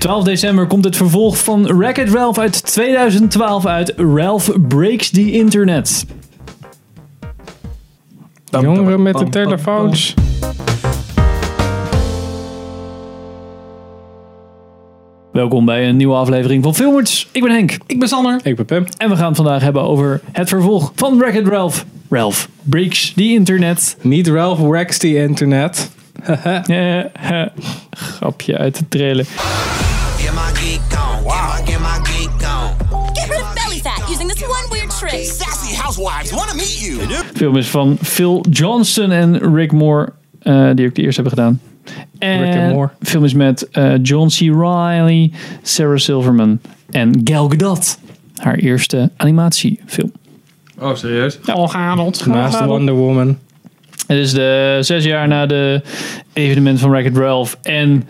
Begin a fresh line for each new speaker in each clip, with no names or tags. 12 december komt het vervolg van Racket Ralph uit 2012 uit Ralph Breaks the Internet.
Jongeren met de telefoons.
Welkom bij een nieuwe aflevering van Filmers. Ik ben Henk
Ik ben Sander.
Ik ben Pim.
en we gaan het vandaag hebben over het vervolg van Racket Ralph. Ralph Breaks the Internet.
Niet Ralph Wax die internet.
Eh, eh, grapje uit de trailer.
Get my geek on. Wow. Get my, get my geek on.
Get rid of belly fat using this one weird trick.
Sassy housewives want to meet you.
film is van Phil Johnston en Rick Moore, eh, die ook de eerste hebben gedaan. En
Rick en Moore.
film is met eh, John C. Reilly, Sarah Silverman en Gal Gadot. Haar eerste animatiefilm.
Oh, serieus?
Al gehandeld.
Naast Wonder Woman.
Het is de zes jaar na de evenement van Racket Ralph. En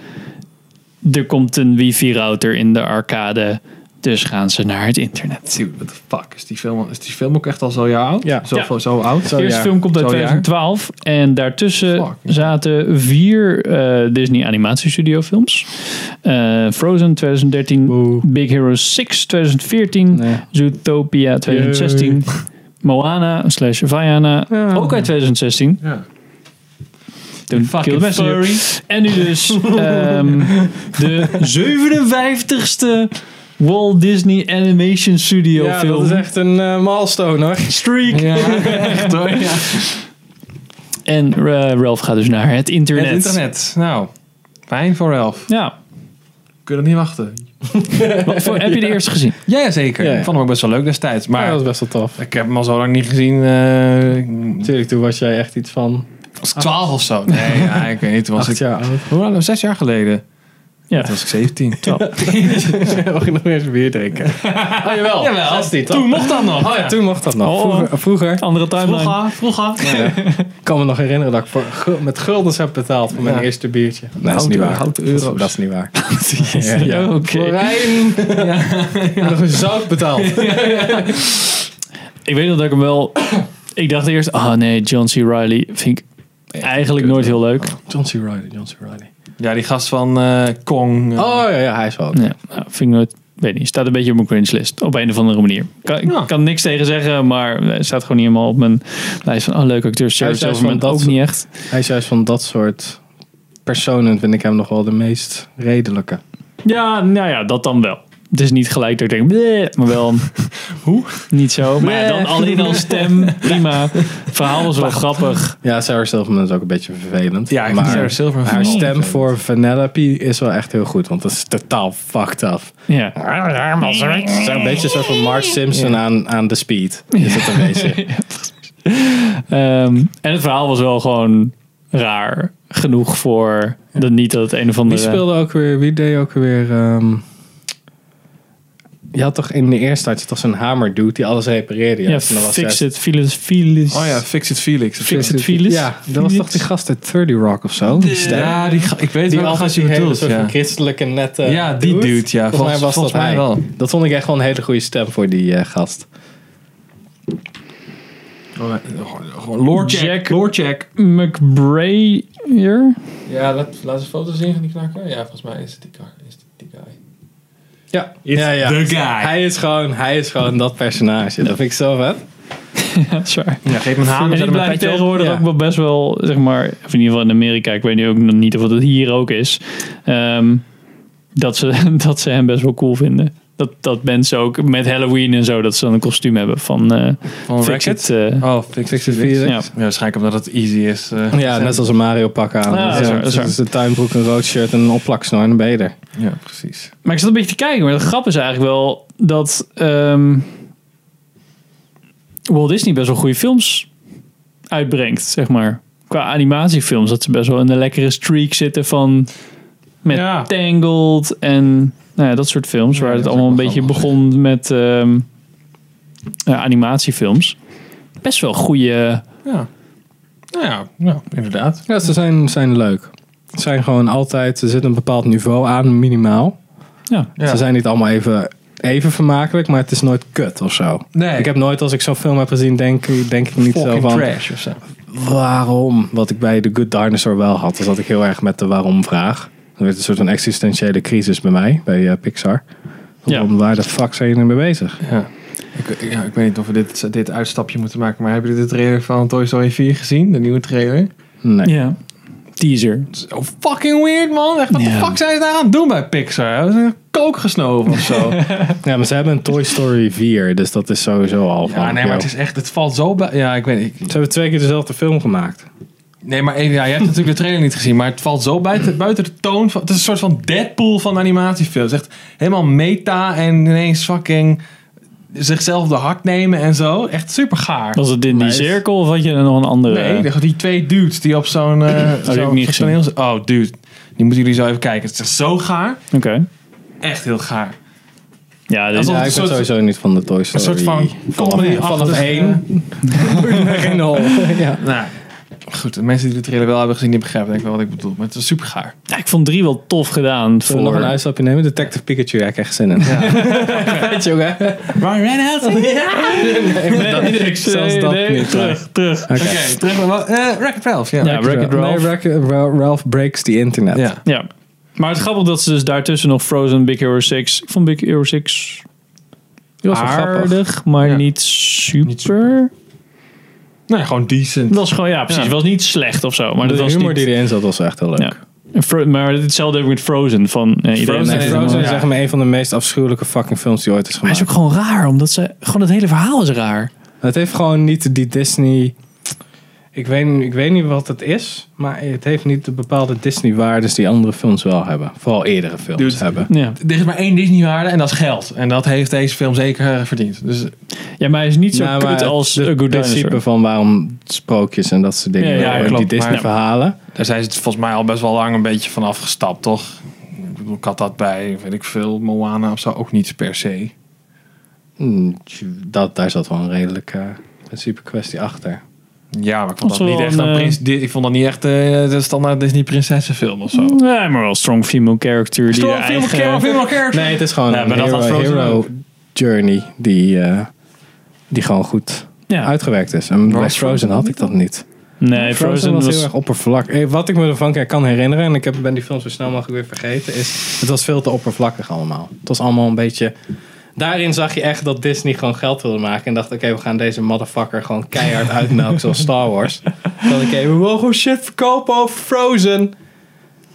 er komt een wifi-router in de arcade. Dus gaan ze naar het internet.
Dude, what the fuck? Is die film, is die film ook echt al zo'n jaar oud?
Ja.
Zo,
Ja.
zo oud?
Zo
De eerste
jaar.
film komt uit
Zo'n jaar.
2012. En daartussen
Fucking.
zaten vier eh, Disney animatiestudio films. Eh, Frozen 2013.
Oeh.
Big Hero 6 2014.
Nee.
Zootopia 2016. Moana slash Vaiana.
Ja.
Ook uit 2016.
Ja.
Toen Kill the Messenger. En nu dus ehm, de 57ste Walt Disney Animation Studio
Ja,
film.
dat is echt een eh, milestone hoor.
Streak.
Ja,
Echt hoor.
En eh, Ralph gaat dus naar het internet.
het internet. Nou, fijn voor Ralph.
Ja.
Kunnen niet wachten.
Wat voor, heb je de eerste gezien?
Ja, zeker.
Ja, ja.
Ik vond hem ook best wel leuk destijds. Maar
Ja, dat is best wel tof.
ik heb hem al zo lang niet gezien. eh, ik
Natuurlijk, toen was jij echt iets van
was 12 of zo. Nee, ja, ik weet niet. Toen was
acht
ik...
jaar oud.
Hoe lang? Zes Ah. jaar geleden.
Ja.
Toen was ik 17.
Mag je nog eens bier drinken?
Oh, jawel.
Dat is niet
Toen mocht dat nog.
Oh ja, toen mocht dat
Oh.
nog. Vroeger, vroeger
Andere timeline.
Vroeger, vroeger.
ik kan me nog herinneren dat ik voor, gu- met guldens heb betaald voor mijn
Ja.
eerste biertje. Nou,
Houten- houten euro's.
Dat is niet waar.
Ja,
Ja.
oké.
Florijn. Ik heb nog een zout betaald.
Ik weet nog dat ik hem wel... Ik dacht eerst, ah nee, John C. Reilly vind ik eigenlijk
kut,
nooit heel leuk.
John C. Reilly, John C. Reilly.
Ja, die gast van eh, Kong. eh,
Oh ja, ja, hij is wel.
Nee, nou, vind ik nooit... Weet niet, staat een beetje op mijn cringe list. Op een of andere manier. Kan, ik
Ja.
kan niks tegen zeggen, maar het staat gewoon niet helemaal op mijn lijst van... Oh, leuk acteur.
Hij
Sarah
is juist
Silverman
van dat
ook niet echt.
Hij is juist van dat soort personen vind ik hem nog wel de meest redelijke.
Ja, nou ja, dat dan wel. Het is niet gelijk dat ik denk, bleh, maar wel...
Hoe?
Niet zo, maar ja, dan
Bleh.
alleen al stem, prima. Verhaal was wel grappig.
Ja, Sarah Silverman is ook een beetje vervelend.
Ja, ik vind Sarah
maar
Silverman
haar
vooral
stem
vervelend.
voor Vanellope is wel echt heel goed, want dat is totaal fucked up.
Ja.
Het is een beetje een soort van Mark Simpson aan, aan de speed. Is het een beetje.
Ehm, en het verhaal was wel gewoon raar genoeg voor dat niet dat het een of
Wie
andere...
speelde ook weer, wie deed ook weer... ehm, je had toch in de eerste had je toch zo'n hamer dude die alles repareerde.
Ja,
en dat was
Fix
juist-
It Felix. Felix.
Oh ja, Fix It Felix.
Fix It Felix.
Ja, dat was toch die gast uit 30 Rock of zo? Die stem.
Ja, die, ga- ik weet
Die
wel
altijd
wat
die
je
hele
bedoelt.
soort van
Ja.
christelijke nette
Ja, die dude, ja.
Volgens mij
Volgens-
was
volgens
dat
mij
hij.
wel.
Dat vond ik echt wel een hele goede stem voor die eh, gast.
Oh, eh, gewoon Lore check.
Jack-
Lore check.
McBrayer?
Ja, laat, laat eens foto zien van die knakker. Ja, volgens mij is het die, is die guy.
Ja, ja, ja. Hij is gewoon, hij is gewoon dat personage. Dat vind ik zo vet.
Ja, sorry.
Ja, geef me een haan.
En die
Zet hem een
blijkt
petje op.
tegenwoordig
ja.
ook wel best wel, zeg maar, of in ieder geval in Amerika, ik weet nu ook nog niet of het hier ook is, ehm, dat, ze, dat ze hem best wel cool vinden. Dat, dat mensen ook met Halloween en zo, dat ze dan een kostuum hebben van, eh
Van
Fix
Racket.
It. eh,
Oh, Fix It Felix.
Felix.
ja.
Ja, waarschijnlijk omdat het easy is. eh,
Ja, net als een Mario pak aan.
Ja, dat is waar, dat is waar.
Dus een tuinbroek, een rood shirt en een opplaksnoor en een beder.
Ja, precies.
Maar ik zat een beetje te kijken, maar de grap is eigenlijk wel dat ehm, Walt Disney best wel goede films uitbrengt, zeg maar. Qua animatiefilms, dat ze best wel in een lekkere streak zitten van met
Ja.
Tangled en nou ja, dat soort films,
Ja,
waar het
dat is
allemaal een
ook
beetje
wel
begon met ehm, ja, animatiefilms. Best wel goede.
Ja. Nou ja, nou, inderdaad.
Ja, ze zijn, zijn leuk. Ze zijn gewoon altijd, er zit een bepaald niveau aan, minimaal.
Ja.
Ja.
Ze zijn niet allemaal even, even vermakelijk, maar het is nooit kut of zo.
Nee.
Ik heb nooit, als ik zo'n film heb gezien, denk, denk ik niet zo
Fucking
van...
trash of zo.
waarom? Wat ik bij The Good Dinosaur wel had, is dat ik heel erg met de waarom vraag. Dat werd een soort van existentiële crisis bij mij, bij eh, Pixar.
Ja.
Om, waar de fuck zijn jullie mee bezig?
Ja. Ik, ja, ik weet niet of we dit, dit uitstapje moeten maken, maar hebben jullie de trailer van Toy Story 4 gezien? De nieuwe trailer?
Nee.
Ja. Teaser.
Zo fucking weird, man. Echt, wat de
Ja.
fuck zijn ze daar aan het doen bij Pixar? Hebben ze een kook gesnoven of zo?
Ja, maar ze hebben een Toy Story 4, dus dat is sowieso al van...
ja, Ah, nee, maar het
yo.
is echt, het valt zo bij. Ja, ik weet niet.
Ze hebben twee keer dezelfde film gemaakt.
Nee, maar even, ja, je hebt natuurlijk de trailer niet gezien, maar het valt zo buiten, buiten de toon. Van, het is een soort van Deadpool van animatiefilms. Echt helemaal meta en ineens fucking zichzelf de hak nemen en zo. Echt super gaar.
Was het in die
Nice.
cirkel of had je er nog een andere?
Nee, die- die twee dudes die op zo'n... eh
eh, ik
zo'n
niet
zo'n
gezien.
toneel- Oh, dude. Die moeten jullie zo even kijken. Het is echt zo gaar.
Oké.
Echt heel gaar.
Ja, dit-
Alsof-
Ja, ik
Een
ben
soort-
sowieso niet van de Toy Story.
soort van comedy
vanaf
achter-
één.
Geen hol. Nou, goed. De mensen die de trailer wel hebben gezien, die begrijpen denk ik wel wat ik bedoel. Maar het is super gaar.
ja, ik vond drie wel tof gedaan.
Zullen
Voor...
we nog een uitstapje nemen? Detective Pikachu, ja, ik krijg zin in. Ja. Weet je ook, hè?
Ryan Reynolds?
Ik zelfs dat niet.
Terug, terug.
Oké, terug naar... wel- eh Wreck-It Ralph, ja.
Ja, Wreck-It Ralph.
Nee, Wreck-It Ralph- Ralph Breaks the Internet.
Ja.
Ja. Maar het grappig dat ze dus daartussen nog Frozen Big Hero 6. Ik vond Big Hero 6
Dat was wel grappig.
aardig, maar
Ja.
niet, super.
Niet Nee, Nou gewoon decent.
Het was gewoon, ja, precies.
Ja.
Het was niet slecht of zo. Maar
De
dat was
humor
niet,
die erin zat was echt heel leuk.
ja. En Fro- maar hetzelfde ook met Frozen. Van, eh, iedereen
Frozen,
heeft-
is-
helemaal-
Frozen is
ja.
echt maar een van de meest afschuwelijke fucking films die ooit is
Maar het
gemaakt.
is ook gewoon raar, omdat ze... Gewoon het hele verhaal is raar.
Het heeft gewoon niet die Disney... Ik weet, ik weet niet wat het is, maar het heeft niet de bepaalde Disney-waardes die andere films wel hebben. Vooral eerdere films
Dude.
hebben.
Ja.
Er is maar één Disney-waarde en dat is geld. En dat heeft deze film zeker eh, verdiend. Dus
ja, maar hij is niet zo
Nou, maar
kut
het-
als A
het
Good
principe
Dinosaur.
van waarom sprookjes en dat soort dingen.
Ja, ja,
wel,
ja,
en
klopt,
die Disney
maar-
verhalen.
daar zijn ze volgens mij al best wel lang een beetje van afgestapt, toch? Ik bedoel, ik had dat bij, weet ik veel, Moana of zo ook niet per se.
mm, Dat, daar zat wel een redelijke principe kwestie achter.
Ja, maar ik vond
Dat
dat,
is
niet
wel
echt
een,
een
eh,
prins, di- ik vond dat niet echt eh, de standaard Disney prinsessenfilm of zo.
Ja, maar wel strong female character. die haar eigen-
Nee, het is gewoon
Ja,
een
maar dat
hero,
had Frozen
hero
ook.
journey die, eh, die gewoon goed
Ja.
uitgewerkt is. En bij
was
Frozen
Frozen
had ik dat niet.
Nee, Frozen was...
heel erg oppervlak. Eh, Wat ik me ervan kan herinneren, en ik heb, ben die film zo snel mogelijk weer vergeten, is het was veel te oppervlakkig allemaal. Het was allemaal een beetje... Daarin zag je echt dat Disney gewoon geld wilde maken. En dacht, oké, we gaan deze motherfucker gewoon keihard uitmelken zoals Star Wars. Dan oké, we mogen gewoon shit verkopen over Frozen.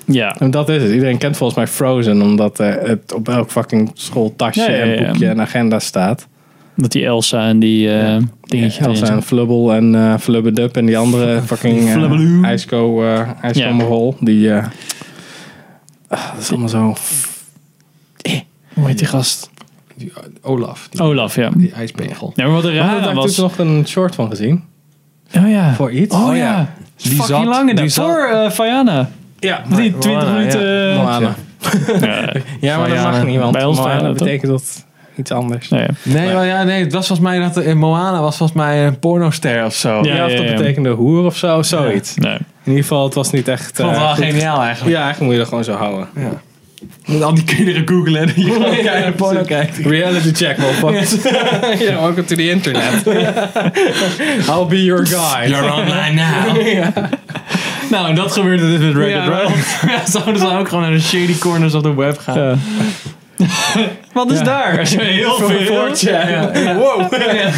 Ja.
En dat is het. Iedereen kent volgens mij Frozen, omdat eh, het op elk fucking schooltasje
Ja, ja, ja, ja.
en boekje en agenda staat.
Dat die Elsa en die eh, dingetje
Elsa
erin
en Flubble en eh Flubbedup en die andere fucking
Flubbeloe.
eh ijsco, eh ijskommerhol. Die, eh, ah, dat is allemaal zo...
zit. Hoe heet die gast?
Die, eh, Olaf, die,
Olaf, ja.
die ijspegel.
Ja, maar wat er
We hebben
raar
daar
was...
natuurlijk nog een short van gezien.
Oh ja.
Voor iets.
Oh ja.
Die
Die
zat-
fucking lang
die
inderdaad.
zat-
Voor eh Fayana.
Ja,
Die 20
Moana,
minuten... eh,
Moana.
Ja.
Ja, maar dat
Moana.
mag niet, want
Bij ons
Moana
Moana, toch?
betekent dat iets anders.
Nee.
Nee, maar ja, nee, het was volgens mij dat in Moana was volgens mij een pornoster of zo.
Ja,
Ja, of
ja,
dat
ja.
betekende hoer of zo, zoiets.
Nee.
In ieder geval, het was niet echt...
Ik vond het
eh,
wel
goed.
geniaal eigenlijk.
Ja, eigenlijk moet je dat gewoon zo houden.
Met al die kinderen googlen en je gewoon naar porno
precies.
kijkt.
Reality check, motherfuckers. yeah, welcome to the internet. I'll be your guy.
You're online now. Nou, en dat gebeurde dus met Wreck-It
Ja, maar-
Ralph. Ja, zouden ze ook gewoon naar de shady corners op de web gaan.
Ja.
Wat is daar? Als je heel veel...
Ja, Wow.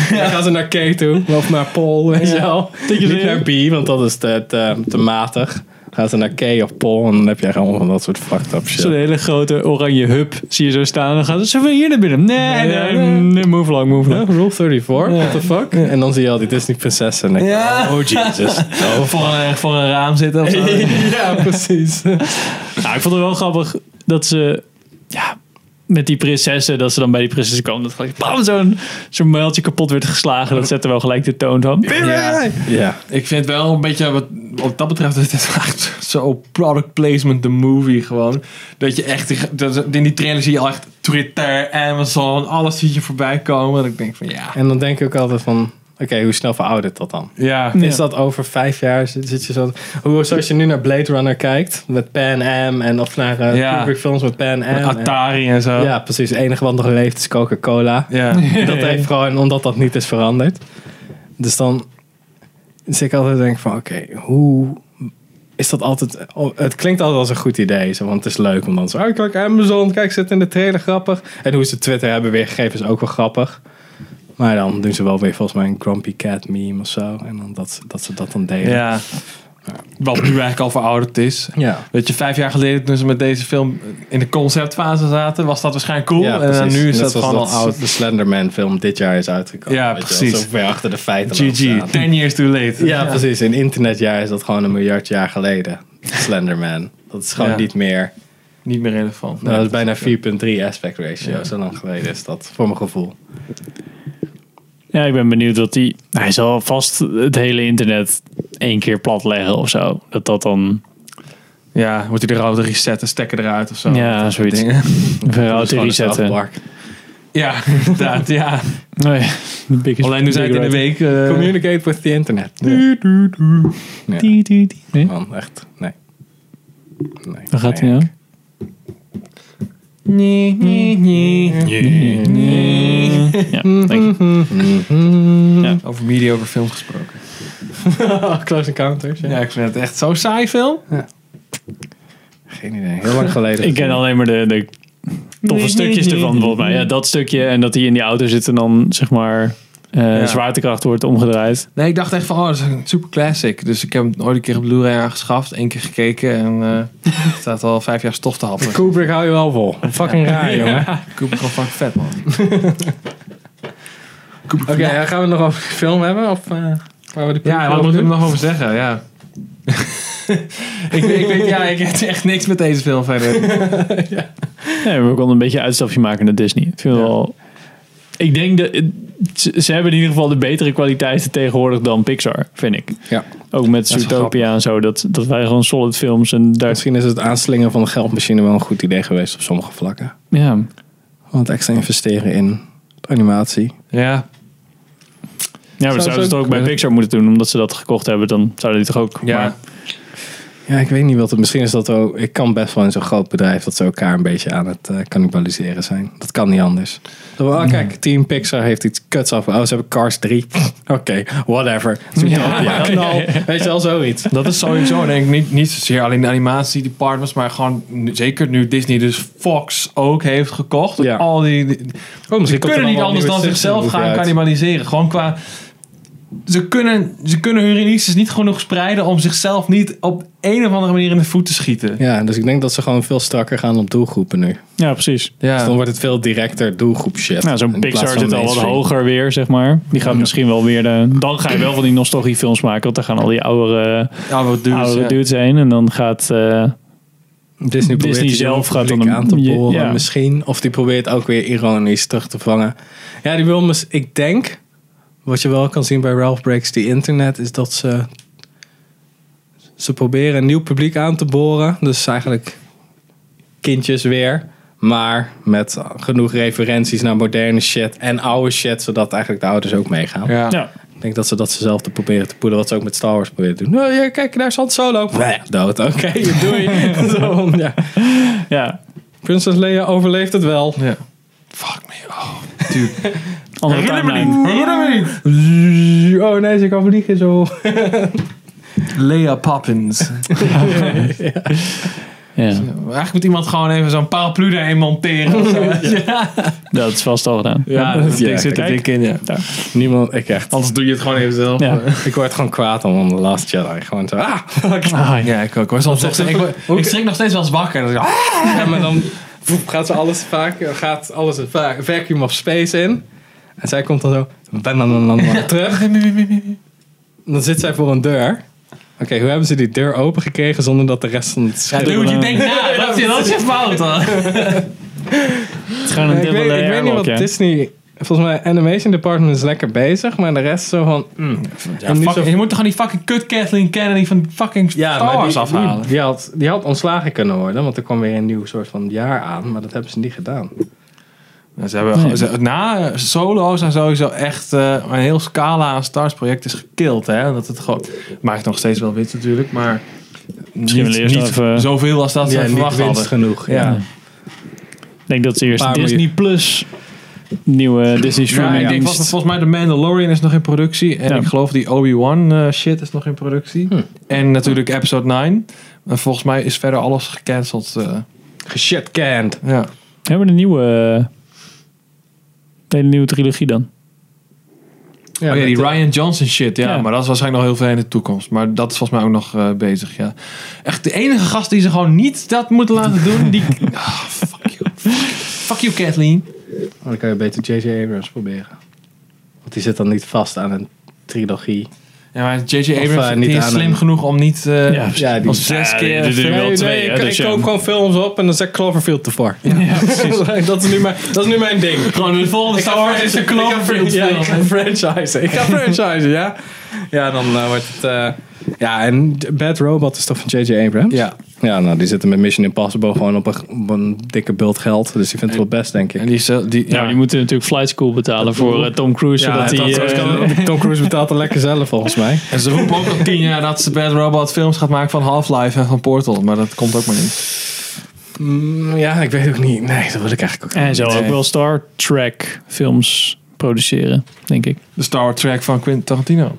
Dan gaan ze naar K toe. Of naar Paul, weet je wel. Niet naar B, want dat is te, te, te matig. Dan gaan ze naar K of Paul en dan heb je gewoon van dat soort fucked
Zo'n
up shit.
hele grote oranje hub zie je zo staan. En dan gaan ze zo van hier naar binnen. Nee, nee,
Nee,
nee. move along, move
Huh?
along.
Rule 34, what the fuck? En dan zie je al die Disney prinsessen en denk je,
Ja.
oh Jesus. Oh,
Voor een, voor een raam zitten of zo.
ja, precies.
Nou, ik vond het wel grappig dat ze... Ja, met die prinsessen, dat ze dan bij die prinsessen kwam. Dat gelijk bam, zo'n zo'n muiltje kapot werd geslagen. Dat zette wel gelijk de toon van...
Ja.
Ja.
Ik vind wel een beetje, wat, wat dat betreft, is dit echt zo product placement, de movie gewoon. Dat je echt, die- dat, in die trailer zie je al echt Twitter, Amazon, alles zie je voorbij komen. En ik denk van ja.
En dan denk ik ook altijd van, oké, hoe snel veroudert dat dan?
Ja.
Is dat over vijf jaar? Zit, zit je zo, hoe, zoals je nu naar Blade Runner kijkt, met Pan Am en of naar eh,
Ja.
Kubrick films met Pan Am. en-
Atari en zo.
ja, precies. Het enige wat nog leeft is Coca-Cola.
Ja.
Dat heeft gewoon, omdat dat niet is veranderd. Dus dan zit ik altijd te denken van, oké, hoe... is dat altijd. oh, Het klinkt altijd als een goed idee. Zo, want het is leuk om dan zo. Oh, kijk, Amazon. Kijk, zit in de trailer grappig. En hoe ze Twitter hebben weergegeven is ook wel grappig. Maar dan doen ze wel weer volgens mij een Grumpy Cat meme of zo. En dan dat, ze- dat ze dat dan delen.
Ja. Wat nu eigenlijk al verouderd is.
Ja.
Weet je, vijf jaar geleden toen ze met deze film in de conceptfase zaten, was dat waarschijnlijk cool.
Ja,
en dan
precies.
nu is
Net
dat
zoals
gewoon al
dat
oud.
De Slenderman film dit jaar is uitgekomen.
Ja,
weet je wel.
precies.
Zo ver achter de feiten.
GG,
aanstaan.
10 years too late.
Ja, precies. In internetjaar is dat gewoon een miljard jaar geleden. Slenderman. Dat is gewoon
Ja.
niet meer.
Niet meer relevant.
Nou, dat is bijna
is
4.3 aspect ratio. Zo lang geleden is dat, voor mijn gevoel.
Ja, ik ben benieuwd wat die. Hij zal vast het hele internet één keer platleggen of zo. Dat dat dan
Ja, wordt hij er altijd resetten, stekken eruit of zo.
Ja,
Dat soort
zoiets.
dingen.
verhoud
Gewoon een
resetten.
zelfpark.
Ja, inderdaad. Ja.
Nee, de biggest-
Alleen nu zijn het in de
big
week. eh,
Communicate with the internet.
du- du- du.
Ja.
right. Die, die, die. Nee,
Man, echt, nee. nee.
waar gaat hij
nee.
nou?
Nee, nee, nee.
Ja, dank je.
Over media, over films gesproken.
Close Encounters, ja.
Ja, ik vind het echt zo'n saai film.
Geen idee, heel lang geleden.
Ik ken alleen maar de, de toffe
nee,
stukjes
nee,
ervan,
nee.
volgens mij. Ja, dat stukje en dat hij in die auto zit en dan zeg maar eh,
Ja.
zwaartekracht wordt omgedraaid.
Nee, ik dacht echt van, oh, dat is een super classic. Dus ik heb hem ooit een keer op Blu-ray aangeschaft, één keer gekeken en eh, het staat al vijf jaar stof te happen.
Kubrick hou je wel vol. Fucking raar, jongen. Oké,
Ik koop gewoon fucking vet, man. Oké,
ja, gaan we het nog over film hebben? Of eh, waar we de
ja, wat moet ik er nog over zeggen? Ja. ik, weet- ik weet, ja, ik heb echt niks met deze film verder.
Nee, maar we konden een beetje een uitstapje maken naar Disney. Ik vind wel... Ik denk dat... Ze ze hebben in ieder geval de betere kwaliteiten tegenwoordig dan Pixar, vind ik.
Ja.
Ook met
is
Zootopia en zo. Dat, dat wij gewoon solid films en daar...
Misschien is het aanslingen van de geldmachine wel een goed idee geweest op sommige vlakken.
Ja,
Want extra investeren in animatie.
Ja,
ja maar
Zou
zouden ze
ze
het ook bij
kunnen.
Pixar moeten doen. Omdat ze dat gekocht hebben, dan zouden die toch ook...
ja.
maar-
Ja, ik weet niet wat het... Misschien is dat ook... Ik kan best wel in zo'n groot bedrijf dat ze elkaar een beetje aan het eh, cannibaliseren zijn. Dat kan niet anders. Zo van, ah, kijk, Team Pixar heeft iets kuts af. Oh, ze hebben Cars 3. Oké, whatever. Zootopia, knal. Nou, Weet je wel, zoiets.
Dat is sowieso, denk ik, niet, niet zozeer alleen de animatiedepartments, maar gewoon, nu- zeker nu Disney dus Fox ook heeft gekocht.
Ja.
Al die, die-
Oh,
ze
misschien komt er
kunnen
dan
niet
wel een
anders
nieuwe
dan
Simpsons
zichzelf
movie
gaan
uit.
cannibaliseren. Gewoon qua, ze kunnen, ze kunnen hun releases niet genoeg spreiden om zichzelf niet op een of andere manier in de voet te schieten.
Ja, dus ik denk dat ze gewoon veel strakker gaan op doelgroepen nu.
Ja, precies.
Dus
Ja.
dan wordt het veel directer doelgroep shit.
Nou, zo'n
In plaats
Pixar
van
zit al wat
mainstream.
hoger weer, zeg maar. Die gaat misschien wel weer de... Dan ga je wel van die nostalgie films maken. Want dan gaan al die oudere,
Ja, wat duur
oudere dudes heen. En dan gaat... eh,
Disney probeert
Disney
die
zelf
publiek
gaat dan een-
aan te
je-
boren
ja.
misschien. Of die probeert ook weer ironisch terug te vangen. Ja, die wil mis, ik denk, wat je wel kan zien bij Ralph Breaks the Internet, is dat ze, ze proberen een nieuw publiek aan te boren. Dus eigenlijk kindjes weer. Maar met genoeg referenties naar moderne shit en oude shit, zodat eigenlijk de ouders ook meegaan.
Ja.
ja.
Ik denk dat ze dat ze zelf te proberen te poelen, wat ze ook met Star Wars proberen te doen. Nou, ja, kijk, daar is Han Solo. Bleh, dood, oké, doei. Zo, ja.
ja,
Prinses Leia overleeft het wel.
Ja. Fuck me, oh, dude.
andere timeline.
Herinner me niet.
Oh nee, ze kan vliegen zo.
Lea Poppins.
Ja,
Eigenlijk moet iemand gewoon even zo'n paraplu daarheen monteren. of zo. Ja.
dat is vast al gedaan.
Ja, dat
Ja,
ik zit er
kijk.
dik in, ja.
Niemand, ik echt.
Anders doe je het gewoon even zelf.
Ja.
Ik word gewoon kwaad om de Last Jedi. Gewoon zo, ah.
Ah, ja.
Ja, ik ook. hoor. Soms nog steeds, ik, word- ik schrik nog steeds wel eens wakker. Dan denk ik, ah!
Ja, maar dan voep, gaat ze alles vaak, gaat alles een va- vacuum of space in. En zij komt dan zo, ben dan dan dan dan terug. Dan zit zij voor een deur. Oké, hoe hebben ze die deur opengekregen zonder dat de rest van het
Ja, dude, je denkt na. Dat is, dat is je fout. hoor.
Het is gewoon een
ik
dubbele
weet, ik weet niet
airlock,
wat
ja.
Disney... Volgens mij, animation department is lekker bezig. Maar de rest zo van... mm, en niet
Fuck,
zo-
je moet toch gewoon die fucking kut Kathleen Kennedy van fucking
Ja,
Star
maar
Wars
oh, die,
afhalen.
Die, die had, die had ontslagen kunnen worden, want er kwam weer een nieuw soort van jaar aan, maar dat hebben ze niet gedaan.
Ja, Ze hebben,
Nee.
ze- na eh, solo's zijn sowieso echt eh, een heel scala aan Stars project is gekild. Hè? Dat het gewoon maakt nog steeds wel winst natuurlijk, maar
Misschien wel
niet,
eerst
niet
even-
zoveel als dat ze
niet
verwacht
winst
hadden.
genoeg. Ja.
Ja.
Ik denk dat ze eerst
Paar
Disney Plus nieuwe Disney
Ja,
streaming
ik denk,
dienst.
volgens, volgens mij de Mandalorian is nog in productie. En
Ja.
ik geloof die Obi-Wan eh, shit is nog in productie. En natuurlijk episode 9. En volgens mij is verder alles gecanceld. eh,
Geshitcanned.
ja.
Hebben we een nieuwe, eh, hele nieuwe trilogie dan?
oh ja, die
met eh, de-
Ryan Johnson shit. Ja,
Ja.
maar dat is waarschijnlijk nog heel veel in de toekomst. Maar dat is volgens mij ook nog eh, bezig, ja. Echt de enige gast die ze gewoon niet dat moeten laten doen. Die... Ah, fuck you. Fuck you, Kathleen.
Oh, Dan kan je beter J.J. Abrams proberen. Want die zit dan niet vast aan een trilogie.
Ja, maar J.J.
Of,
Abrams
eh, niet
die is
aan
slim
een-
genoeg om niet... eh,
Ja,
Ja, die
Als zes
Ja,
keer...
die- die- die-
ver-
wel twee,
ik,
hè, dus
ik
ja.
koop gewoon films op en dan zet ik Cloverfield ervoor.
Ja,
dat, is nu mijn, dat is nu mijn ding.
Gewoon de volgende Star Wars is een Cloverfield
Ja,
film.
ik ga franchisen. Ik ga franchisen, ja. Ja, dan eh, wordt het... eh, ja, en Bad Robot is toch van J.J. Abrams?
Ja.
Ja, nou, die zitten met Mission Impossible gewoon op een, op een dikke bult geld. Dus die vindt het wel best, denk ik.
En die, is, eh, die,
Ja,
ja,
die moeten natuurlijk flight school betalen voor eh, Tom Cruise.
Ja,
zodat hij,
dat-
eh,
Tom Cruise betaalt er lekker zelf, volgens mij.
En ze roepen ook al tien jaar dat ze Bad Robot films gaat maken van Half-Life en van Portal. Maar dat komt ook maar niet.
Mm, ja, ik weet ook niet. Nee, dat wil ik eigenlijk ook
en zo ook
Nee.
wel Star Trek films produceren, denk ik.
De Star Wars track van Quentin Tarantino.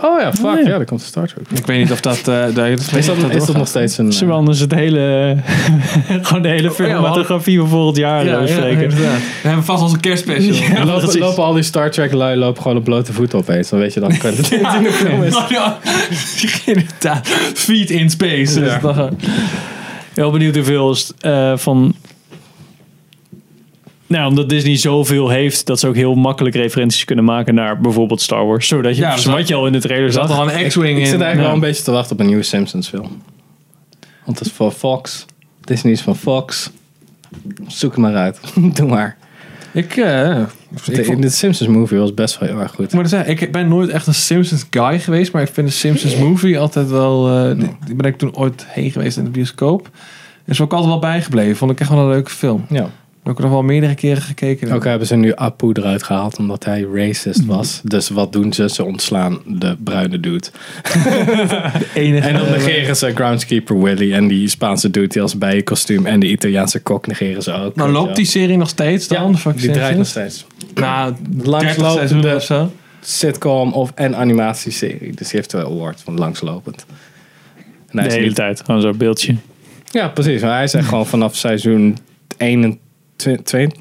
Oh ja, fuck.
Oh, ja.
ja. daar komt de Star Trek.
Ik weet niet of dat... eh, daar- dat
Is dat, is dat
doorgaat.
nog steeds een... eh,
Zullen we anders het hele, gewoon de hele
Oh we
filmatografie van volgend jaar eh, bespreken?
inderdaad. We hebben vast onze kerstspecial.
eh,
Ja,
lopen,
precies.
lopen al die Star Trek lui lopen gewoon op blote voeten opeens. Dan weet je dat Quentin Tarantino is.
Oh ja, inderdaad. Feet in space.
Ja.
Dus dan-
eh, Heel benieuwd hoeveel is, eh, van... Nou, omdat Disney zoveel heeft, dat ze ook heel makkelijk referenties kunnen maken naar bijvoorbeeld Star Wars. Zodat je,
Ja, er zat-
wat je al in de trailer
Er zat
zag.
al een X-Wing in.
Ik zit eigenlijk
Ja.
wel een beetje te wachten op een nieuwe Simpsons film. Want het is voor Fox. Disney is van Fox. Zoek het maar uit. Doe maar.
Ik, eh,
De,
ik, vond-
de Simpsons movie was best wel heel erg goed.
ik moet zeggen, ik ben nooit echt een Simpsons guy geweest, maar ik vind de Simpsons movie altijd wel. eh, die- Die ben ik toen ooit heen geweest in de bioscoop. Is ook altijd wel bijgebleven. Vond ik echt wel een leuke film.
Ja.
Heb ik nog wel meerdere keren gekeken.
Ook hebben ze nu Apu eruit gehaald omdat hij racist was. Dus wat doen ze? Ze ontslaan de bruine dude.
enige. eh,
En dan negeren ze groundskeeper Willy en die Spaanse dude die als bijenkostuum en de Italiaanse kok negeren ze ook.
nou
weet je
loopt die serie nog steeds
wel.
dan?
Ja,
Fuck
die draait nog
Simpsons?
steeds.
Nou, dertig seizoenen of
Langslopende
zo.
sitcom of en animatieserie. Dus die heeft de award van langslopend. En hij
De
is
hele
niet-
tijd, gewoon zo'n beeldje.
ja, precies. Maar hij is echt gewoon vanaf seizoen 21,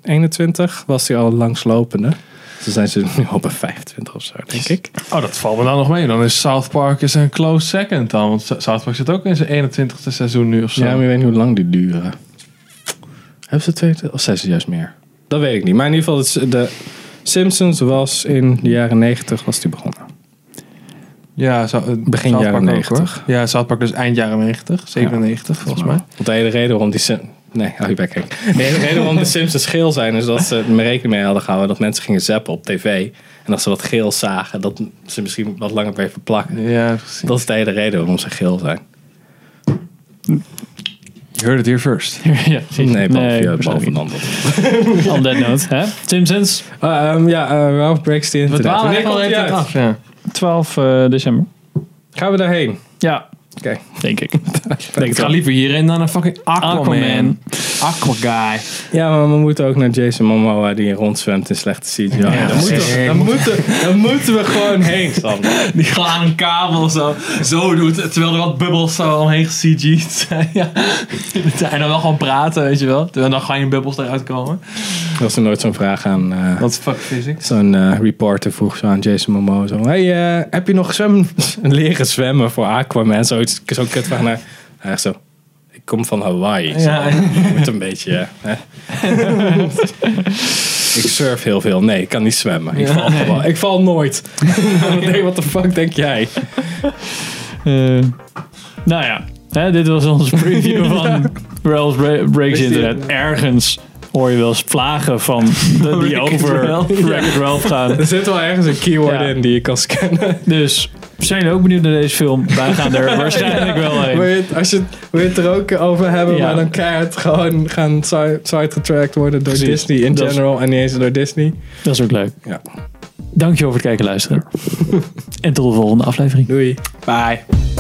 21 was hij al langslopende. Ze zijn ze nu al bij 25 of zo, denk ik.
Oh, dat valt me dan nog mee. Dan is South Park is een close second dan. Want South Park zit ook in zijn 21ste seizoen nu of zo.
Ja, maar je weet niet hoe lang die duren. Hebben ze twee of zijn ze juist meer? Dat weet ik niet. Maar in ieder geval, het is- de Simpsons was in de jaren 90 was die begonnen.
Ja, zo, eh,
Begin
South
jaren
Park ook, hoor.
90.
Ja, South Park dus eind jaren 90, 97 volgens mij.
Want de hele reden waarom die Sim- Nee, oh, hou je bek, Henk. De hele reden waarom de Simpsons geel zijn, is dat ze er rekening mee hadden gehouden dat mensen gingen zappen op tv. En als ze wat geel zagen, dat ze misschien wat langer bleven plakken.
Ja, precies.
Dat is de hele reden waarom ze geel zijn.
You heard it here first.
ja, precies.
Nee, behalve, ja,
waarschijnlijk
behalve
niet.
een ander.
On that note, hè? Simpsons,
Ah, ehm, ja, eh, Ralph breaks the
We
internet.
dwalen
Wanneer
echt al
komt die
even
uit?
af. Ja.
12 eh, december.
Gaan we daarheen?
Ja,
Oké.
denk ik. denk
Ik
het
ga
wel.
liever hierin dan een fucking Aquaman.
Aquaman.
Aquaguy.
Ja, maar we moeten ook naar Jason Momoa die rondzwemt in slechte CGI.
Ja,
daar, moeten we,
zeker.
daar, moeten, daar moeten we gewoon heen, Sam.
Die gewoon aan een kabel zo, zo doet. Terwijl er wat bubbels zo omheen gecg'd zijn. Ja. En dan wel gewoon praten, weet je wel. Terwijl dan gewoon je bubbels eruit komen.
Was er nooit zo'n vraag aan... eh,
Dat is fuck physics.
Zo'n eh, reporter vroeg zo aan Jason Momoa zo... Hey, eh, heb je nog zwem leren zwemmen voor Aquaman? Zoiets, zo'n kutvraag naar... Hij echt zo... Ik kom van Hawaii. Zo,
Ja, ja.
je moet een beetje... eh, hè. ik surf heel veel. Nee, ik kan niet zwemmen. Ik, val, gewoon- ik val nooit. nee, what the fuck denk jij?
Eh, nou ja, hè, dit was onze preview van Rails Bra- Breaks the Internet. Ergens hoor je wel eens plagen van de, die
Wreck-It
over
Ralph.
Wreck-It Ralph gaan.
Er zit wel ergens een keyword
Ja.
in die je kan scannen.
Dus zijn jullie ook benieuwd naar deze film? Wij gaan er waarschijnlijk wel
Wil
heen.
je, het- als je, het- wil je het er ook over hebben,
Ja.
maar dan keihard gewoon gaan side- sidetracked worden door
Precies.
Disney in
Dat is-
general en niet eens door Disney.
Dat is ook leuk.
Ja.
Dankjewel voor het kijken en luisteren. En tot de volgende aflevering.
Doei.
Bye.